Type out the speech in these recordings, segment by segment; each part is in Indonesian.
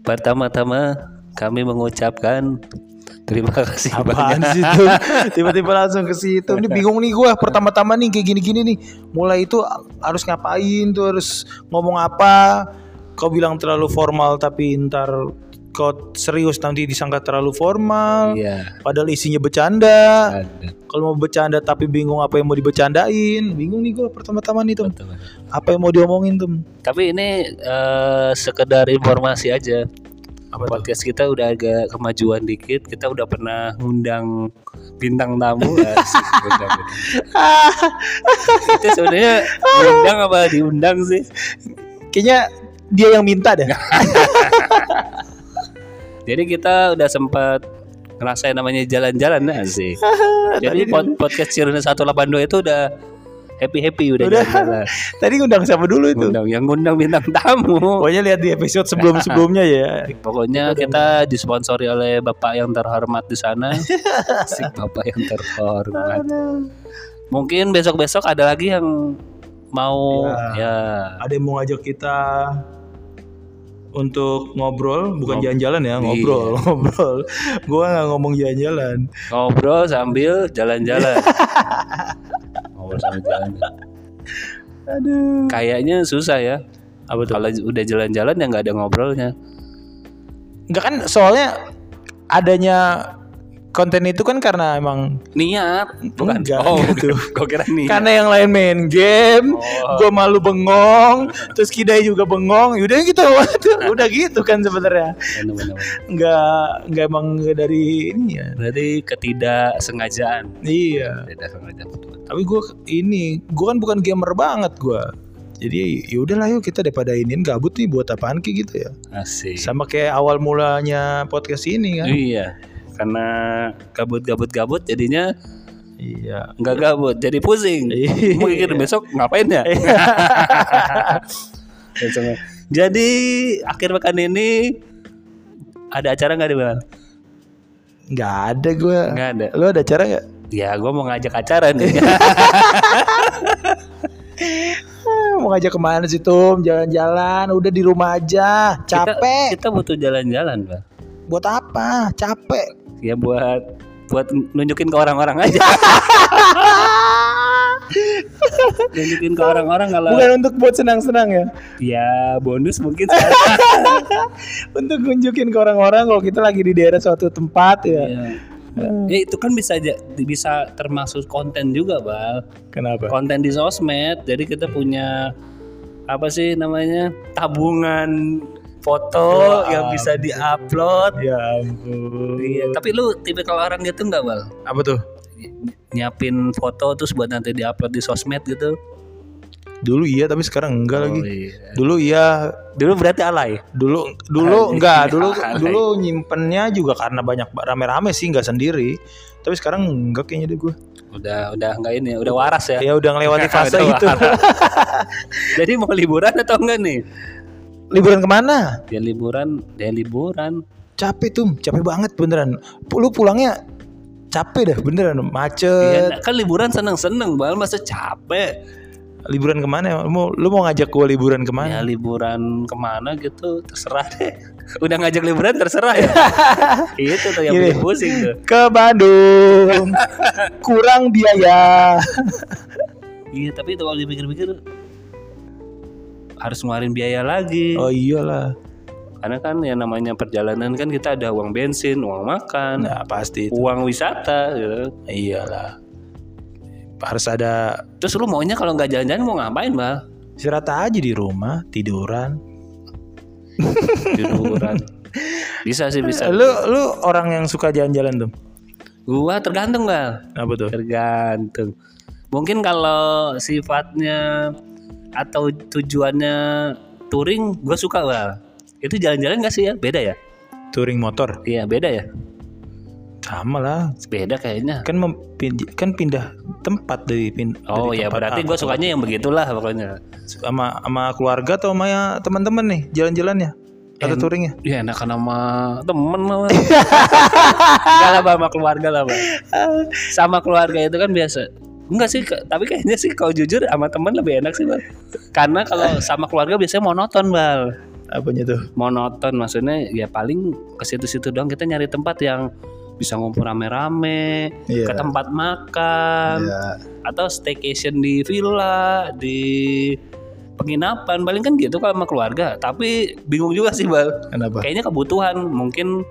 Pertama-tama kami mengucapkan terima kasih Apaan banyak. sih itu? Tiba-tiba langsung ke situ. Ini bingung nih gua Pertama-tama nih kayak gini-gini nih. Mulai itu harus ngapain tuh harus ngomong apa? Kau bilang terlalu formal tapi ntar kau serius nanti disangka terlalu formal. Iya. Padahal isinya bercanda. ada, Kalau mau bercanda tapi bingung apa yang mau dibecandain. Bingung nih gua pertama-tama nih tuh. teman. Apa yang mau diomongin tuh? Tapi ini eh, sekedar informasi aja. Apa tuh? Podcast kita udah agak kemajuan dikit. Kita udah pernah ngundang bintang tamu. Asik, bintang tamu. Itu sebenarnya diundang apa diundang sih? Kayaknya dia yang minta deh. Jadi kita udah sempat ngerasain namanya jalan-jalan nah sih. Jadi Tadi pod- podcast Cirene 182 itu udah happy-happy udah, Udah. jalan-jalan. Tadi ngundang siapa dulu itu? Ngundang yang ngundang bintang tamu. Pokoknya lihat di episode sebelum-sebelumnya ya. Pokoknya kita disponsori oleh bapak yang terhormat di sana. Si bapak yang terhormat. Mungkin besok-besok ada lagi yang mau ya, Ada yang mau ngajak kita untuk ngobrol, Ngob- bukan jalan-jalan ya, ngobrol, ngobrol. Gua nggak ngomong jalan-jalan. ngobrol sambil jalan-jalan. ngobrol sambil jalan-jalan. Aduh. Kayaknya susah ya. Kalau udah jalan-jalan ya nggak ada ngobrolnya. Enggak kan soalnya adanya konten itu kan karena emang Niat bukan? Enggak, oh, gitu. gua kira niat. karena yang lain main game, Oh. gua malu bengong, terus Kidai juga bengong. Udah gitu, udah gitu kan sebenarnya. Bener-bener. Enggak enggak emang nggak dari ini ya. Berarti ketidaksengajaan. Iya. Ketidaksengajaan. tapi gue ini gue kan bukan gamer banget gue jadi ya udahlah yuk kita daripada iniin gabut nih buat apaan kayak gitu ya Asik. sama kayak awal mulanya podcast ini kan Iya. Karena gabut-gabut-gabut jadinya iya nggak gabut, jadi pusing. Iya. Mungkin besok ngapain ya? Besok. jadi akhir pekan ini ada acara nggak nih bang? nggak ada gue Nggak ada. lo ada cara nggak Ya, gue mau ngajak acara nih. Ah, mau ngajak kemana sih Tum jalan-jalan udah di rumah aja capek Kita, kita butuh jalan-jalan, bang. buat apa capek Ya buat buat nunjukin ke orang-orang aja. Ah. nunjukin ke orang-orang kalau bukan untuk buat senang-senang ya ya bonus mungkin sekarang. untuk nunjukin ke orang-orang kalau kita lagi di daerah suatu tempat ya ya. Ya, itu kan bisa aja bisa termasuk konten juga, Bal. kenapa Konten di sosmed. Jadi kita punya apa sih namanya? tabungan foto Ya yang bisa diupload. ya ampun Iya, tapi lu tipikal orang gitu nggak, Bal? apa tuh Nyiapin foto terus buat nanti diupload di sosmed gitu. Dulu iya tapi sekarang enggak lagi. Oh, iya. Dulu iya, Dulu berarti alay. dulu dulu enggak, dulu Alay. dulu nyimpennya juga karena banyak rame-rame sih enggak sendiri. Tapi sekarang enggak kayaknya deh gue. Udah udah nggak ini, udah gitu. waras ya. Ya udah ngelewati fase Udah itu. waras. Jadi mau liburan atau enggak nih? Liburan kemana? Dia liburan, dia liburan. Capek tuh, capek banget beneran. Lu pulangnya capek dah beneran macet. Iya, kan liburan seneng-seneng, bal masa capek. Liburan kemana? Lu mau lu mau ngajak gue liburan Ya kemana? liburan kemana gitu, terserah deh. Udah ngajak liburan terserah ya. itu tuh yang Gini. bikin pusing tuh. Ke Bandung. Kurang biaya. Iya, tapi itu kalau dipikir-pikir harus ngeluarin biaya lagi. Oh iyalah. Karena kan yang namanya perjalanan kan kita ada uang bensin, uang makan, Nah, pasti. uang wisata gitu. Iyalah. Harus ada Terus lu maunya kalau nggak jalan-jalan mau ngapain, Bal? Istirahat aja di rumah, tiduran. Tiduran. bisa sih bisa. Eh, Lu lu orang yang suka jalan-jalan tuh. Gua tergantung, Bal. Apa tuh? Tergantung. Mungkin kalau sifatnya atau tujuannya touring, gue suka bal. Itu jalan-jalan gak sih ya? Beda ya? Touring motor. Iya beda ya. Sama lah. Beda kayaknya. Kan mempin- kan pindah tempat dari pin Oh ya dari tempat berarti A gue ke sukanya yang begitulah pokoknya. tempat- sama sama keluarga atau sama ya teman-teman nih jalan-jalannya atau En- touringnya. Ya enak sama temen lah. Bal. Enggak lah Bal, sama keluarga lah Bal. Sama keluarga itu kan biasa. Enggak sih, ke- tapi kayaknya sih kalau jujur sama temen lebih enak sih bal. Karena kalau sama keluarga biasanya monoton bal. Apanya tuh? monoton maksudnya ya paling ke situ-situ doang kita nyari tempat yang bisa ngumpul rame-rame Iya. ke tempat makan Iya. atau staycation di villa di penginapan paling kan gitu kalau sama keluarga tapi bingung juga sih bal Kenapa? kayaknya kebutuhan mungkin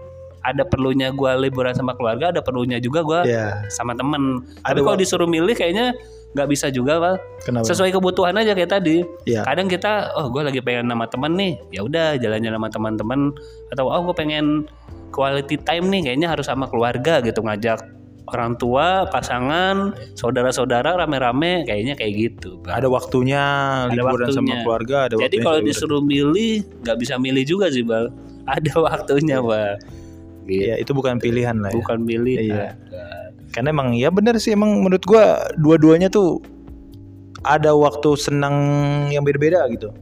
ada perlunya gua liburan sama keluarga ada perlunya juga gua Ya, sama temen tapi Ada kalau wak- disuruh milih kayaknya nggak bisa juga bal kenapa? sesuai kebutuhan aja kayak tadi Iya. kadang kita oh gue lagi pengen nama teman nih ya udah jalannya sama teman-teman atau oh gue pengen quality time nih kayaknya harus sama keluarga gitu ngajak orang tua pasangan saudara-saudara rame-rame kayaknya kayak gitu Bang. Ada waktunya Ada liburan sama waktunya. keluarga, ada jadi waktunya kalau liburan. disuruh milih nggak bisa milih juga sih bang ada waktunya bang gitu. Iya, itu bukan pilihan lah ya. bukan milih Iya. Karena emang ya bener sih emang menurut gua dua-duanya tuh ada waktu senang yang beda-beda gitu.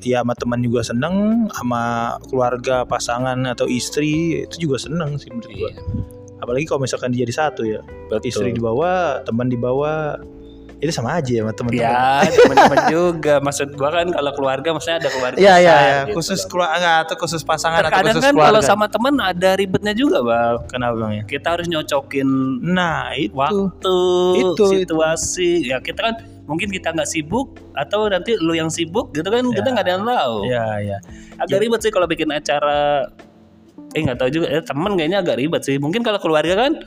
Ya sama teman juga seneng, sama keluarga, pasangan atau istri itu juga seneng sih menurut gua. Iya, Apalagi kalau misalkan dia jadi satu ya, betul. istri di bawah, teman di bawah, itu sama aja ya sama teman. Ya teman-teman juga Maksud gua kan kalau keluarga Maksudnya ada keluarga Iya iya besar ya. gitu. khusus keluarga atau khusus pasangan atau Terkadang khusus kan keluarga. kalau sama temen ada ribetnya juga bang Kenapa bang ya? Kita harus nyocokin Nah itu waktu Itu, Situasi Ya kita kan mungkin kita nggak sibuk Atau nanti lu yang sibuk gitu kan Kita nggak ada yang tahu Ya ya. Agak ribet sih kalau bikin acara Eh nggak tahu juga eh, Temen kayaknya agak ribet sih Mungkin kalau keluarga kan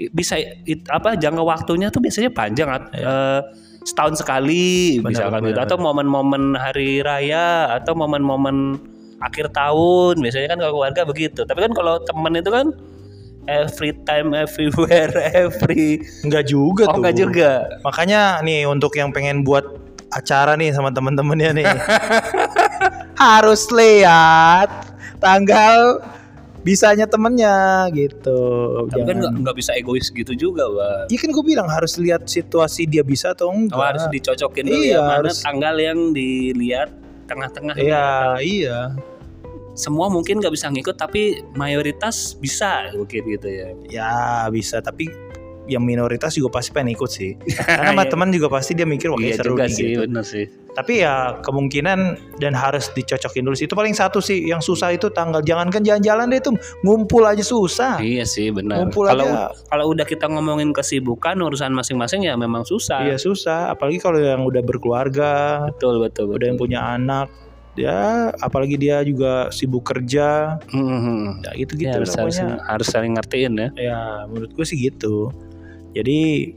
i- Bisa i- apa jangka waktunya tuh biasanya panjang at- eh, Setahun sekali Iya. Benar, misalkan benar, gitu Atau momen-momen hari raya Atau momen-momen akhir tahun Biasanya kan kalau keluarga begitu Tapi kan kalau temen itu kan Every time, everywhere, every Enggak juga Oh tuh. enggak juga Makanya nih untuk yang pengen buat acara nih sama temen-temennya nih harus lihat tanggal bisanya temennya gitu. Tapi kan Jangan- nggak- nggak bisa egois gitu juga Bang Iya kan gue bilang harus lihat situasi dia bisa atau enggak. Oh, harus dicocokin dulu ya Iya, mana harus. tanggal yang dilihat tengah-tengah. Iya iya. Semua mungkin nggak bisa ngikut tapi mayoritas bisa mungkin gitu ya. Ya bisa tapi yang minoritas juga pasti pengen ikut sih. Karena sama teman juga pasti dia mikir wah kayaknya iya seru juga nih sih, gitu. bener sih. Tapi ya kemungkinan dan harus dicocokin dulu sih. Itu paling satu sih yang susah itu tanggal. Jangankan jalan-jalan deh itu ngumpul aja susah. Iya sih benar. Ngumpul Kalau aja. kalau udah kita ngomongin kesibukan urusan masing-masing ya memang susah. Iya susah, apalagi kalau yang udah berkeluarga, Betul betul. udah yang betul. punya anak. Ya, apalagi dia juga sibuk kerja. Mhm. Ya gitu-gitu Ya, lah harus, harus, pokoknya. harus saling ngertiin ya. Ya, menurut gue sih gitu. Jadi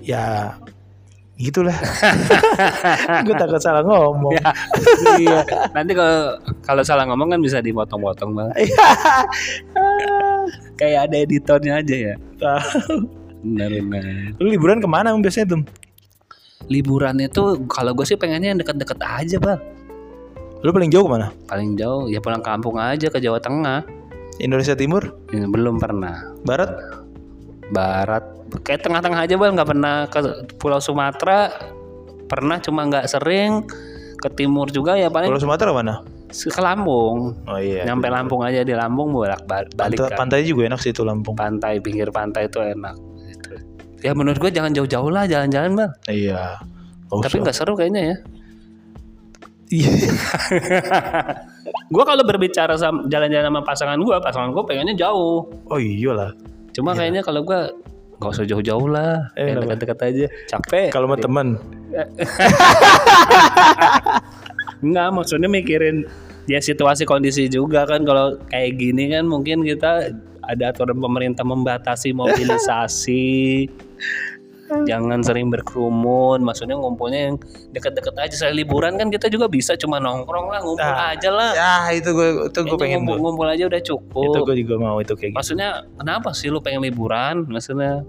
ya gitulah. gue takut salah ngomong. iya. Nanti kalau kalau salah ngomong kan bisa dipotong-potong banget. Ah, Kayak ada editornya aja ya. Benar benar. Lu liburan kemana Om, biasanya tuh? liburan itu kalau gue sih pengennya yang deket-deket aja bang Lu paling jauh kemana? paling jauh ya pulang kampung aja ke Jawa Tengah Indonesia Timur, Ini belum pernah Barat, barat kayak tengah-tengah aja bang nggak pernah ke Pulau Sumatera pernah cuma nggak sering ke timur juga ya paling Pulau Sumatera mana? ke Lampung Oh iya. nyampe Lampung aja di Lampung bolak balik Pantai, kan. pantai juga enak sih itu Lampung. pantai pinggir pantai itu enak Gitu. ya menurut gue jangan jauh-jauh lah jalan-jalan bang Iya. tapi nggak seru kayaknya ya Iya. gue kalau berbicara sama jalan-jalan sama pasangan gue pasangan gue pengennya jauh Oh iyalah. cuma kayaknya kalau gue nggak usah jauh-jauh lah Iya. Eh, yang kenapa? dekat-dekat aja capek Kalau sama teman, nggak maksudnya mikirin ya situasi kondisi juga kan kalau kayak gini kan mungkin kita ada aturan pemerintah membatasi mobilisasi jangan sering berkerumun maksudnya ngumpulnya yang dekat-dekat aja saya liburan kan kita juga bisa cuma nongkrong lah ngumpul Ah. aja lah ya itu gue itu gue Kayaknya pengen ngumpul, tuh. ngumpul aja udah cukup Itu gue juga mau itu kayak gitu. maksudnya kenapa sih lu pengen liburan maksudnya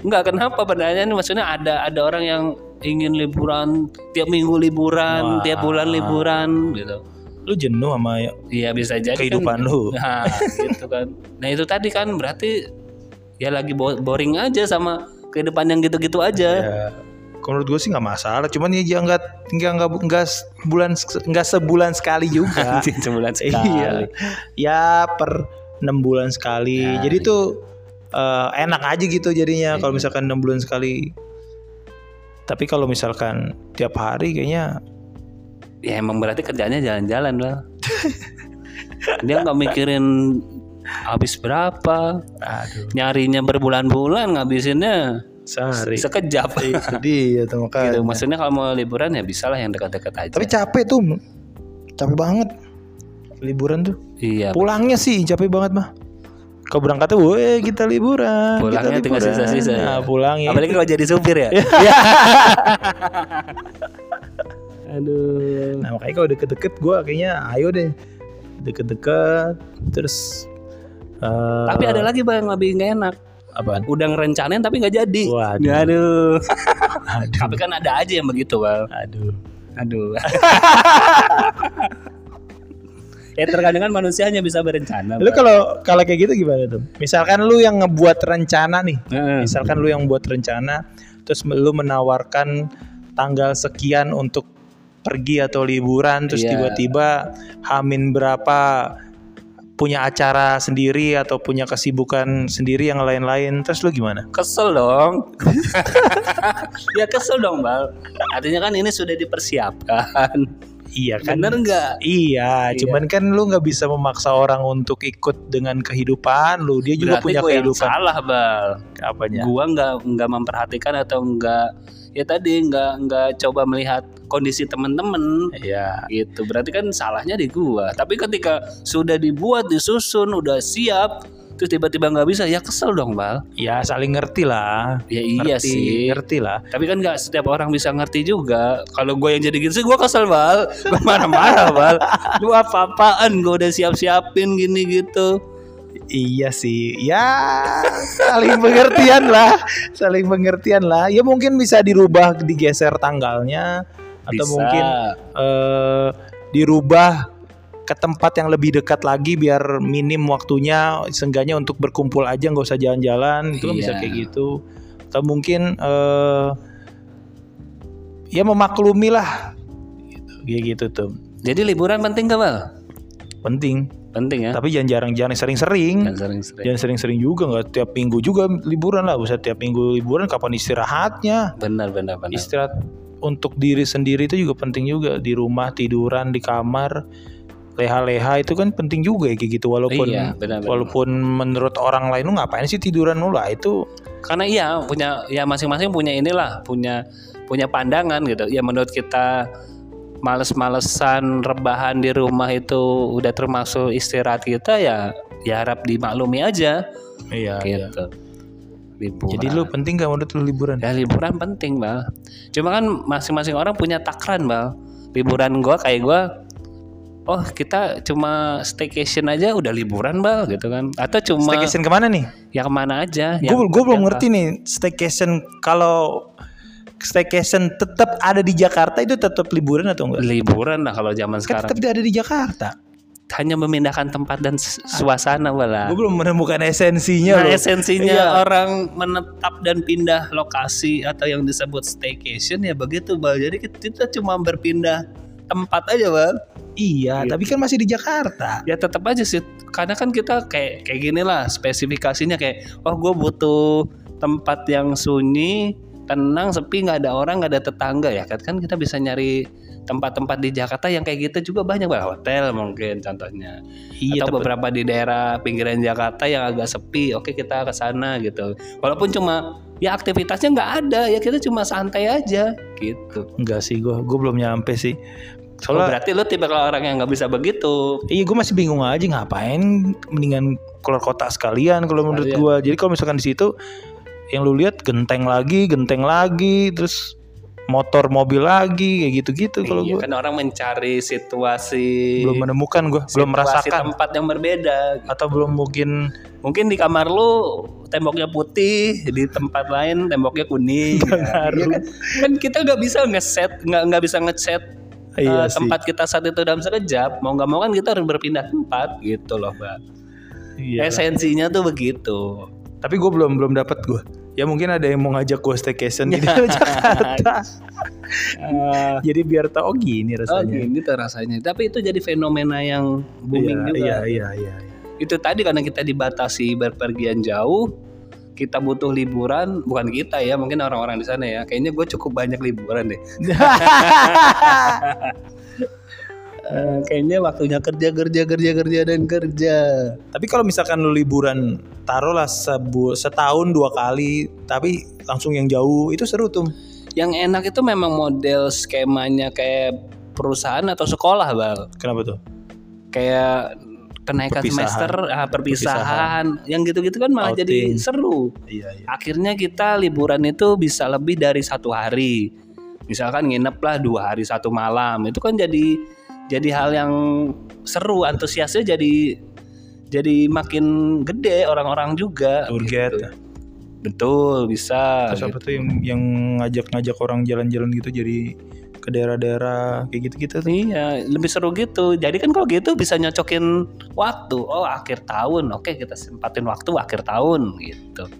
nggak kenapa pertanyaannya maksudnya ada ada orang yang ingin liburan tiap minggu liburan Wah. tiap bulan liburan gitu Lu jenuh sama ya- iya bisa jadi kan- kehidupan lu. nah gitu kan nah itu tadi kan berarti ya lagi bo- boring aja sama kehidupan yang gitu-gitu aja Ya, kalau menurut gue sih nggak masalah. Cuman ya jangan nggak nggak nggak nggak bulan nggak sebulan sekali juga. Anjing, sebulan iya. sekali Ya per enam bulan sekali. Nah, Jadi iya. tuh eh, enak aja gitu jadinya kalau Iya. misalkan enam bulan sekali. Tapi kalau misalkan tiap hari kayaknya ya emang berarti kerjanya jalan-jalan lah dia nggak mikirin habis berapa Aduh, nyarinya berbulan-bulan ngabisinnya sehari. sekejap Itu dia tuh gitu makanya. maksudnya kalau mau liburan ya bisalah yang dekat-dekat aja Tapi capek tuh. Capek banget. Liburan tuh. iya Pulangnya sih capek banget mah. Kau berangkatnya, woi kita liburan. Pulangnya kita tinggal liburan." sisa-sisa ya. Nah, pulangnya. apalagi kalau jadi supir ya aduh Nah makanya kalau deket-deket gue kayaknya ayo deh deket-deket terus. eh, tapi ada lagi bang yang lebih nggak enak apaan? udah ngerencanain tapi nggak jadi Waduh. aduh Aduh. tapi kan ada aja yang begitu bang Aduh. aduh ya terkadang kan manusia hanya bisa berencana Lu Bang. kalau kalau kayak gitu gimana tuh? Misalkan lu yang ngebuat rencana nih, Heeh. misalkan lu yang buat rencana, terus lu menawarkan tanggal sekian untuk pergi atau liburan, terus Iya. tiba-tiba hamin berapa punya acara sendiri atau punya kesibukan sendiri yang lain-lain, terus lu gimana? kesel dong ya kesel dong bang artinya kan ini sudah dipersiapkan Iya kan? bener nggak Iya, Iya. cuman kan lu nggak bisa memaksa orang untuk ikut dengan kehidupan lu. Dia juga Berarti punya gua yang kehidupan. salah bal Apanya? gua nggak nggak memperhatikan atau nggak ya tadi nggak nggak coba melihat kondisi temen-temen Iya. gitu berarti kan salahnya di gua tapi ketika sudah dibuat disusun udah siap terus tiba-tiba nggak bisa ya kesel dong bal Ya saling ngerti lah. ya iya Ngerti- sih Ngerti lah. tapi kan nggak setiap orang bisa ngerti juga kalau gua yang jadi gitu sih gua kesel bal gua marah-marah bal lu apa-apaan gua udah siap-siapin gini gitu Iya sih. Ya saling pengertian lah. Saling pengertian lah. Ya mungkin bisa dirubah, digeser tanggalnya atau Bisa. mungkin eh, dirubah ke tempat yang lebih dekat lagi biar minim waktunya seenggaknya untuk berkumpul aja nggak usah jalan-jalan itu kan bisa Iya. kayak gitu atau mungkin eh, ya memaklumi lah gitu kayak gitu tuh jadi liburan penting gak bal penting penting ya tapi jangan jarang-jarang sering-sering Jangan sering-sering jangan sering-sering juga nggak tiap minggu juga liburan lah bisa tiap minggu liburan kapan istirahatnya benar benar benar istirahat untuk diri sendiri itu juga penting juga di rumah tiduran di kamar leha-leha itu kan penting juga ya kayak gitu walaupun iya, benar, benar. walaupun menurut orang lain lu ngapain sih tiduran lu lah itu karena iya punya ya masing-masing punya inilah punya punya pandangan gitu ya menurut kita males-malesan rebahan di rumah itu udah termasuk istirahat kita ya ya harap dimaklumi aja iya gitu liburan jadi lu penting gak menurut lu liburan ya liburan penting bal cuma kan masing-masing orang punya takran bal liburan gua kayak gua oh kita cuma staycation aja udah liburan bal gitu kan atau cuma staycation kemana nih ya kemana aja gue yang- gue belum yang- ngerti nih staycation kalau staycation tetap ada di Jakarta itu tetap liburan atau enggak liburan lah kalau zaman kan sekarang tetap ada di Jakarta hanya memindahkan tempat dan s- suasana gue bala belum menemukan esensinya nah loh esensinya Ah. Iya. orang menetap dan pindah lokasi atau yang disebut staycation ya begitu bal jadi kita, kita cuma berpindah tempat aja bal iya Gitu. tapi kan masih di Jakarta ya tetap aja sih karena kan kita kayak kayak gini lah spesifikasinya kayak oh gue butuh tempat yang sunyi tenang sepi nggak ada orang nggak ada tetangga ya kan kan kita bisa nyari tempat-tempat di Jakarta yang kayak gitu juga banyak Bal. hotel mungkin contohnya iya atau tapi beberapa di daerah pinggiran Jakarta yang agak sepi oke kita ke sana gitu walaupun cuma ya aktivitasnya nggak ada ya kita cuma santai aja gitu enggak sih gue gue belum nyampe sih Oh, soalnya berarti lu tipe kalau orang yang nggak bisa begitu Iya gue masih bingung aja ngapain mendingan keluar kota sekalian kalau menurut Sekalian. gua Jadi kalau misalkan di situ yang lu lihat genteng lagi, genteng lagi, terus motor mobil lagi kayak gitu-gitu kalau Iya, gua kan orang mencari situasi belum menemukan gua belum situasi merasakan tempat yang berbeda atau belum mungkin mungkin di kamar lu temboknya putih di tempat lain temboknya kuning ya, ngaruh. kan? kan kita nggak bisa ngeset nggak nggak bisa ngeset eh, Iya sih. tempat kita saat itu dalam sekejap mau nggak mau kan kita harus berpindah tempat gitu loh mbak Iya. esensinya tuh begitu Tapi gua belum belum dapat gua. Ya mungkin ada yang mau ngajak gua staycation gitu. di Jakarta. Jadi biar tau oh gini oh rasanya. gini tuh rasanya tapi itu jadi fenomena yang booming Iya, juga iya, iya, iya. itu tadi karena kita dibatasi berpergian jauh kita butuh liburan bukan kita ya mungkin orang-orang di sana ya kayaknya gue cukup banyak liburan deh Eh, kayaknya waktunya kerja kerja kerja kerja dan kerja Tapi kalau misalkan lu liburan taruhlah sebu- setahun dua kali tapi langsung yang jauh itu seru tuh. yang enak itu memang model skemanya kayak perusahaan atau sekolah bang Kenapa tuh? kayak kenaikan Perpisahan. semester ah, perpisahan yang gitu-gitu kan malah jadi Outing. seru Iya iya. akhirnya kita liburan itu bisa lebih dari satu hari misalkan nginep lah dua hari satu malam itu kan jadi jadi hal yang seru antusiasnya jadi jadi makin gede orang-orang juga Target. gitu. betul bisa Terus apa gitu. tuh yang yang ngajak-ngajak orang jalan-jalan gitu jadi ke daerah-daerah kayak gitu-gitu tuh. Iya, lebih seru gitu. Jadi kan kalau gitu bisa nyocokin waktu. Oh, akhir tahun. Oke, kita sempatin waktu akhir tahun gitu.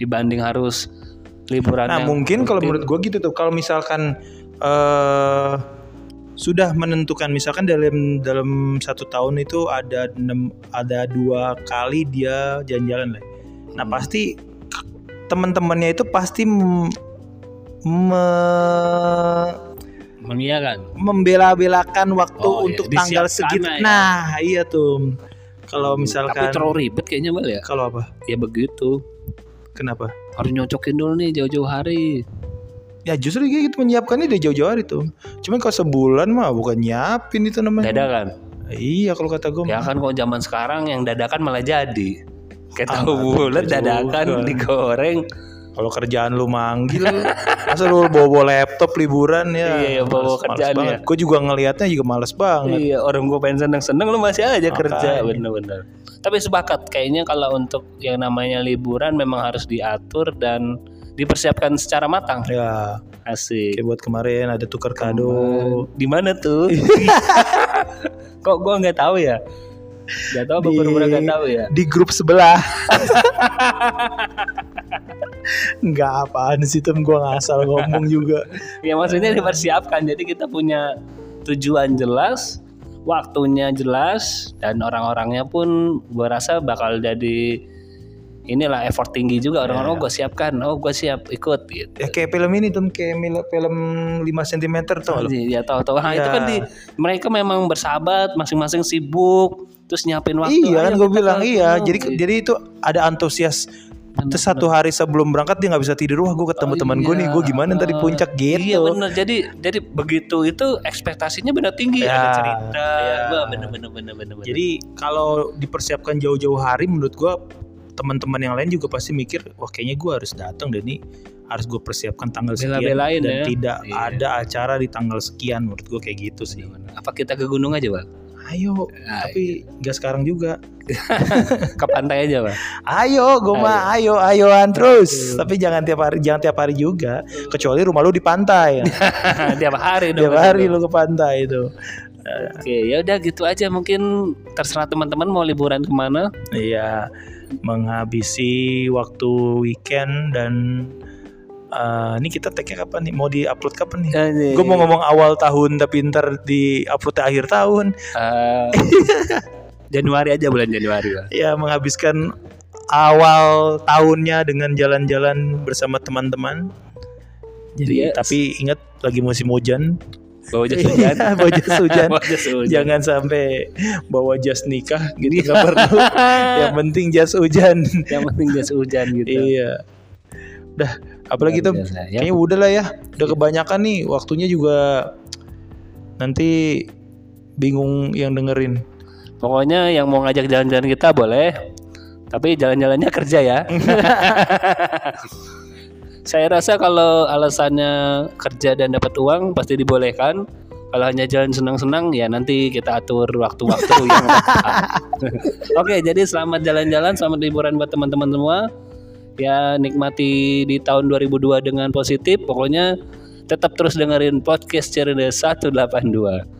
Dibanding harus liburan Kan Nah, yang mungkin kalau rutin. menurut gua gitu tuh kalau misalkan eh sudah menentukan misalkan dalam dalam satu tahun itu ada enam ada dua kali dia jalan-jalan lah. Nah Hmm. pasti teman-temannya itu pasti mem- me- Iya kan. membela-belakan waktu Oh, iya. untuk Di tanggal siap segitu. sana ya. Nah iya tuh kalau Hmm, Tapi misalkan terlalu ribet kayaknya Bal ya. kalau apa? Ya begitu. Kenapa? Harus nyocokin dulu nih jauh-jauh hari. Ya justru kayak gitu menyiapkannya dari jauh-jauh hari tuh. Cuman kalau sebulan mah bukan nyiapin itu namanya. Beda kan? Iya kalau kata gue. Ya kan kalau zaman sekarang yang dadakan malah jadi. Kayak Ah, tahu bulat betul juga. dadakan digoreng. Kalau kerjaan lu manggil, masa lu bawa-bawa laptop liburan ya? Iya, iya, bawa kerjaan ya. Gue juga ngelihatnya juga males banget. Iya orang gue pengen seneng-seneng lu masih aja Makanya. kerja bener-bener. Tapi sepakat kayaknya kalau untuk yang namanya liburan memang harus diatur dan dipersiapkan secara matang. Ya, Asik. kayak buat kemarin ada tukar kado. Di mana tuh? Kok gue nggak tahu ya? Gak tahu apa Di- bener-bener nggak tahu ya? Di grup sebelah. Enggak apaan sih tem gue ngasal ngomong juga. Ya maksudnya dipersiapkan. Jadi kita punya tujuan jelas, waktunya jelas, dan orang-orangnya pun gue rasa bakal jadi inilah effort tinggi juga orang-orang Iya, gue siapkan. Oh gue siap ikut gitu. Ya kayak film ini tem kayak mil- film 5 cm tuh. Jadi, Ya tahu-tahu. Nah, itu Iya. kan di mereka memang bersahabat, masing-masing sibuk, terus nyiapin waktu. Iya kan ayo gue kita bilang ke- iya. ke- Jadi jadi itu ada antusias. Terus satu hari sebelum berangkat dia nggak bisa tidur. Wah gue ketemu Oh, teman gue nih. iya. Gue gimana ntar di puncak gitu. Iya benar. Jadi jadi begitu itu ekspektasinya benar tinggi Ya, ada cerita. ya. Wah, bener-bener bener-bener. Jadi kalau dipersiapkan jauh-jauh hari menurut gue teman-teman yang lain juga pasti mikir wah kayaknya gue harus datang deh nih harus gue persiapkan tanggal sekian Bela-belain ya. dan tidak Iya. ada acara di tanggal sekian menurut gue kayak gitu sih. apa kita ke gunung aja, Bang? Ayo tapi nggak sekarang juga. ke pantai aja pak Ayo gue mah ayo ayoan terus tapi jangan tiap hari jangan tiap hari juga kecuali rumah lu di pantai. tiap hari dong tiap hari lu ke pantai itu. oke ya udah gitu aja mungkin terserah teman-teman mau liburan kemana Iya, menghabisi waktu weekend dan eh, ini kita tag-nya kapan nih? Mau di-upload kapan Iya. nih? Gue mau ngomong awal tahun tapi ntar di-upload akhir tahun. Eh, Januari aja bulan Januari pak Ya, menghabiskan awal tahunnya dengan jalan-jalan bersama teman-teman. Iya. Jadi tapi ingat lagi musim hujan. bawa jas hujan Iya, bawa jas hujan. bawa jas hujan Jangan sampai bawa jas nikah gitu nggak perlu. Ah. Yang penting jas hujan. yang penting jas hujan gitu Iya. Udah, apalagi Luar tuh biasa, ya. kayaknya udah lah ya. Udah kebanyakan nih waktunya juga nanti bingung yang dengerin. pokoknya yang mau ngajak jalan-jalan kita boleh tapi jalan-jalannya kerja ya saya rasa kalau alasannya kerja dan dapat uang pasti dibolehkan kalau hanya jalan senang-senang ya nanti kita atur waktu-waktu yang tepat. oke jadi selamat jalan-jalan selamat liburan buat teman-teman semua ya nikmati di tahun 2002 dengan positif pokoknya tetap terus dengerin podcast Cerdas 182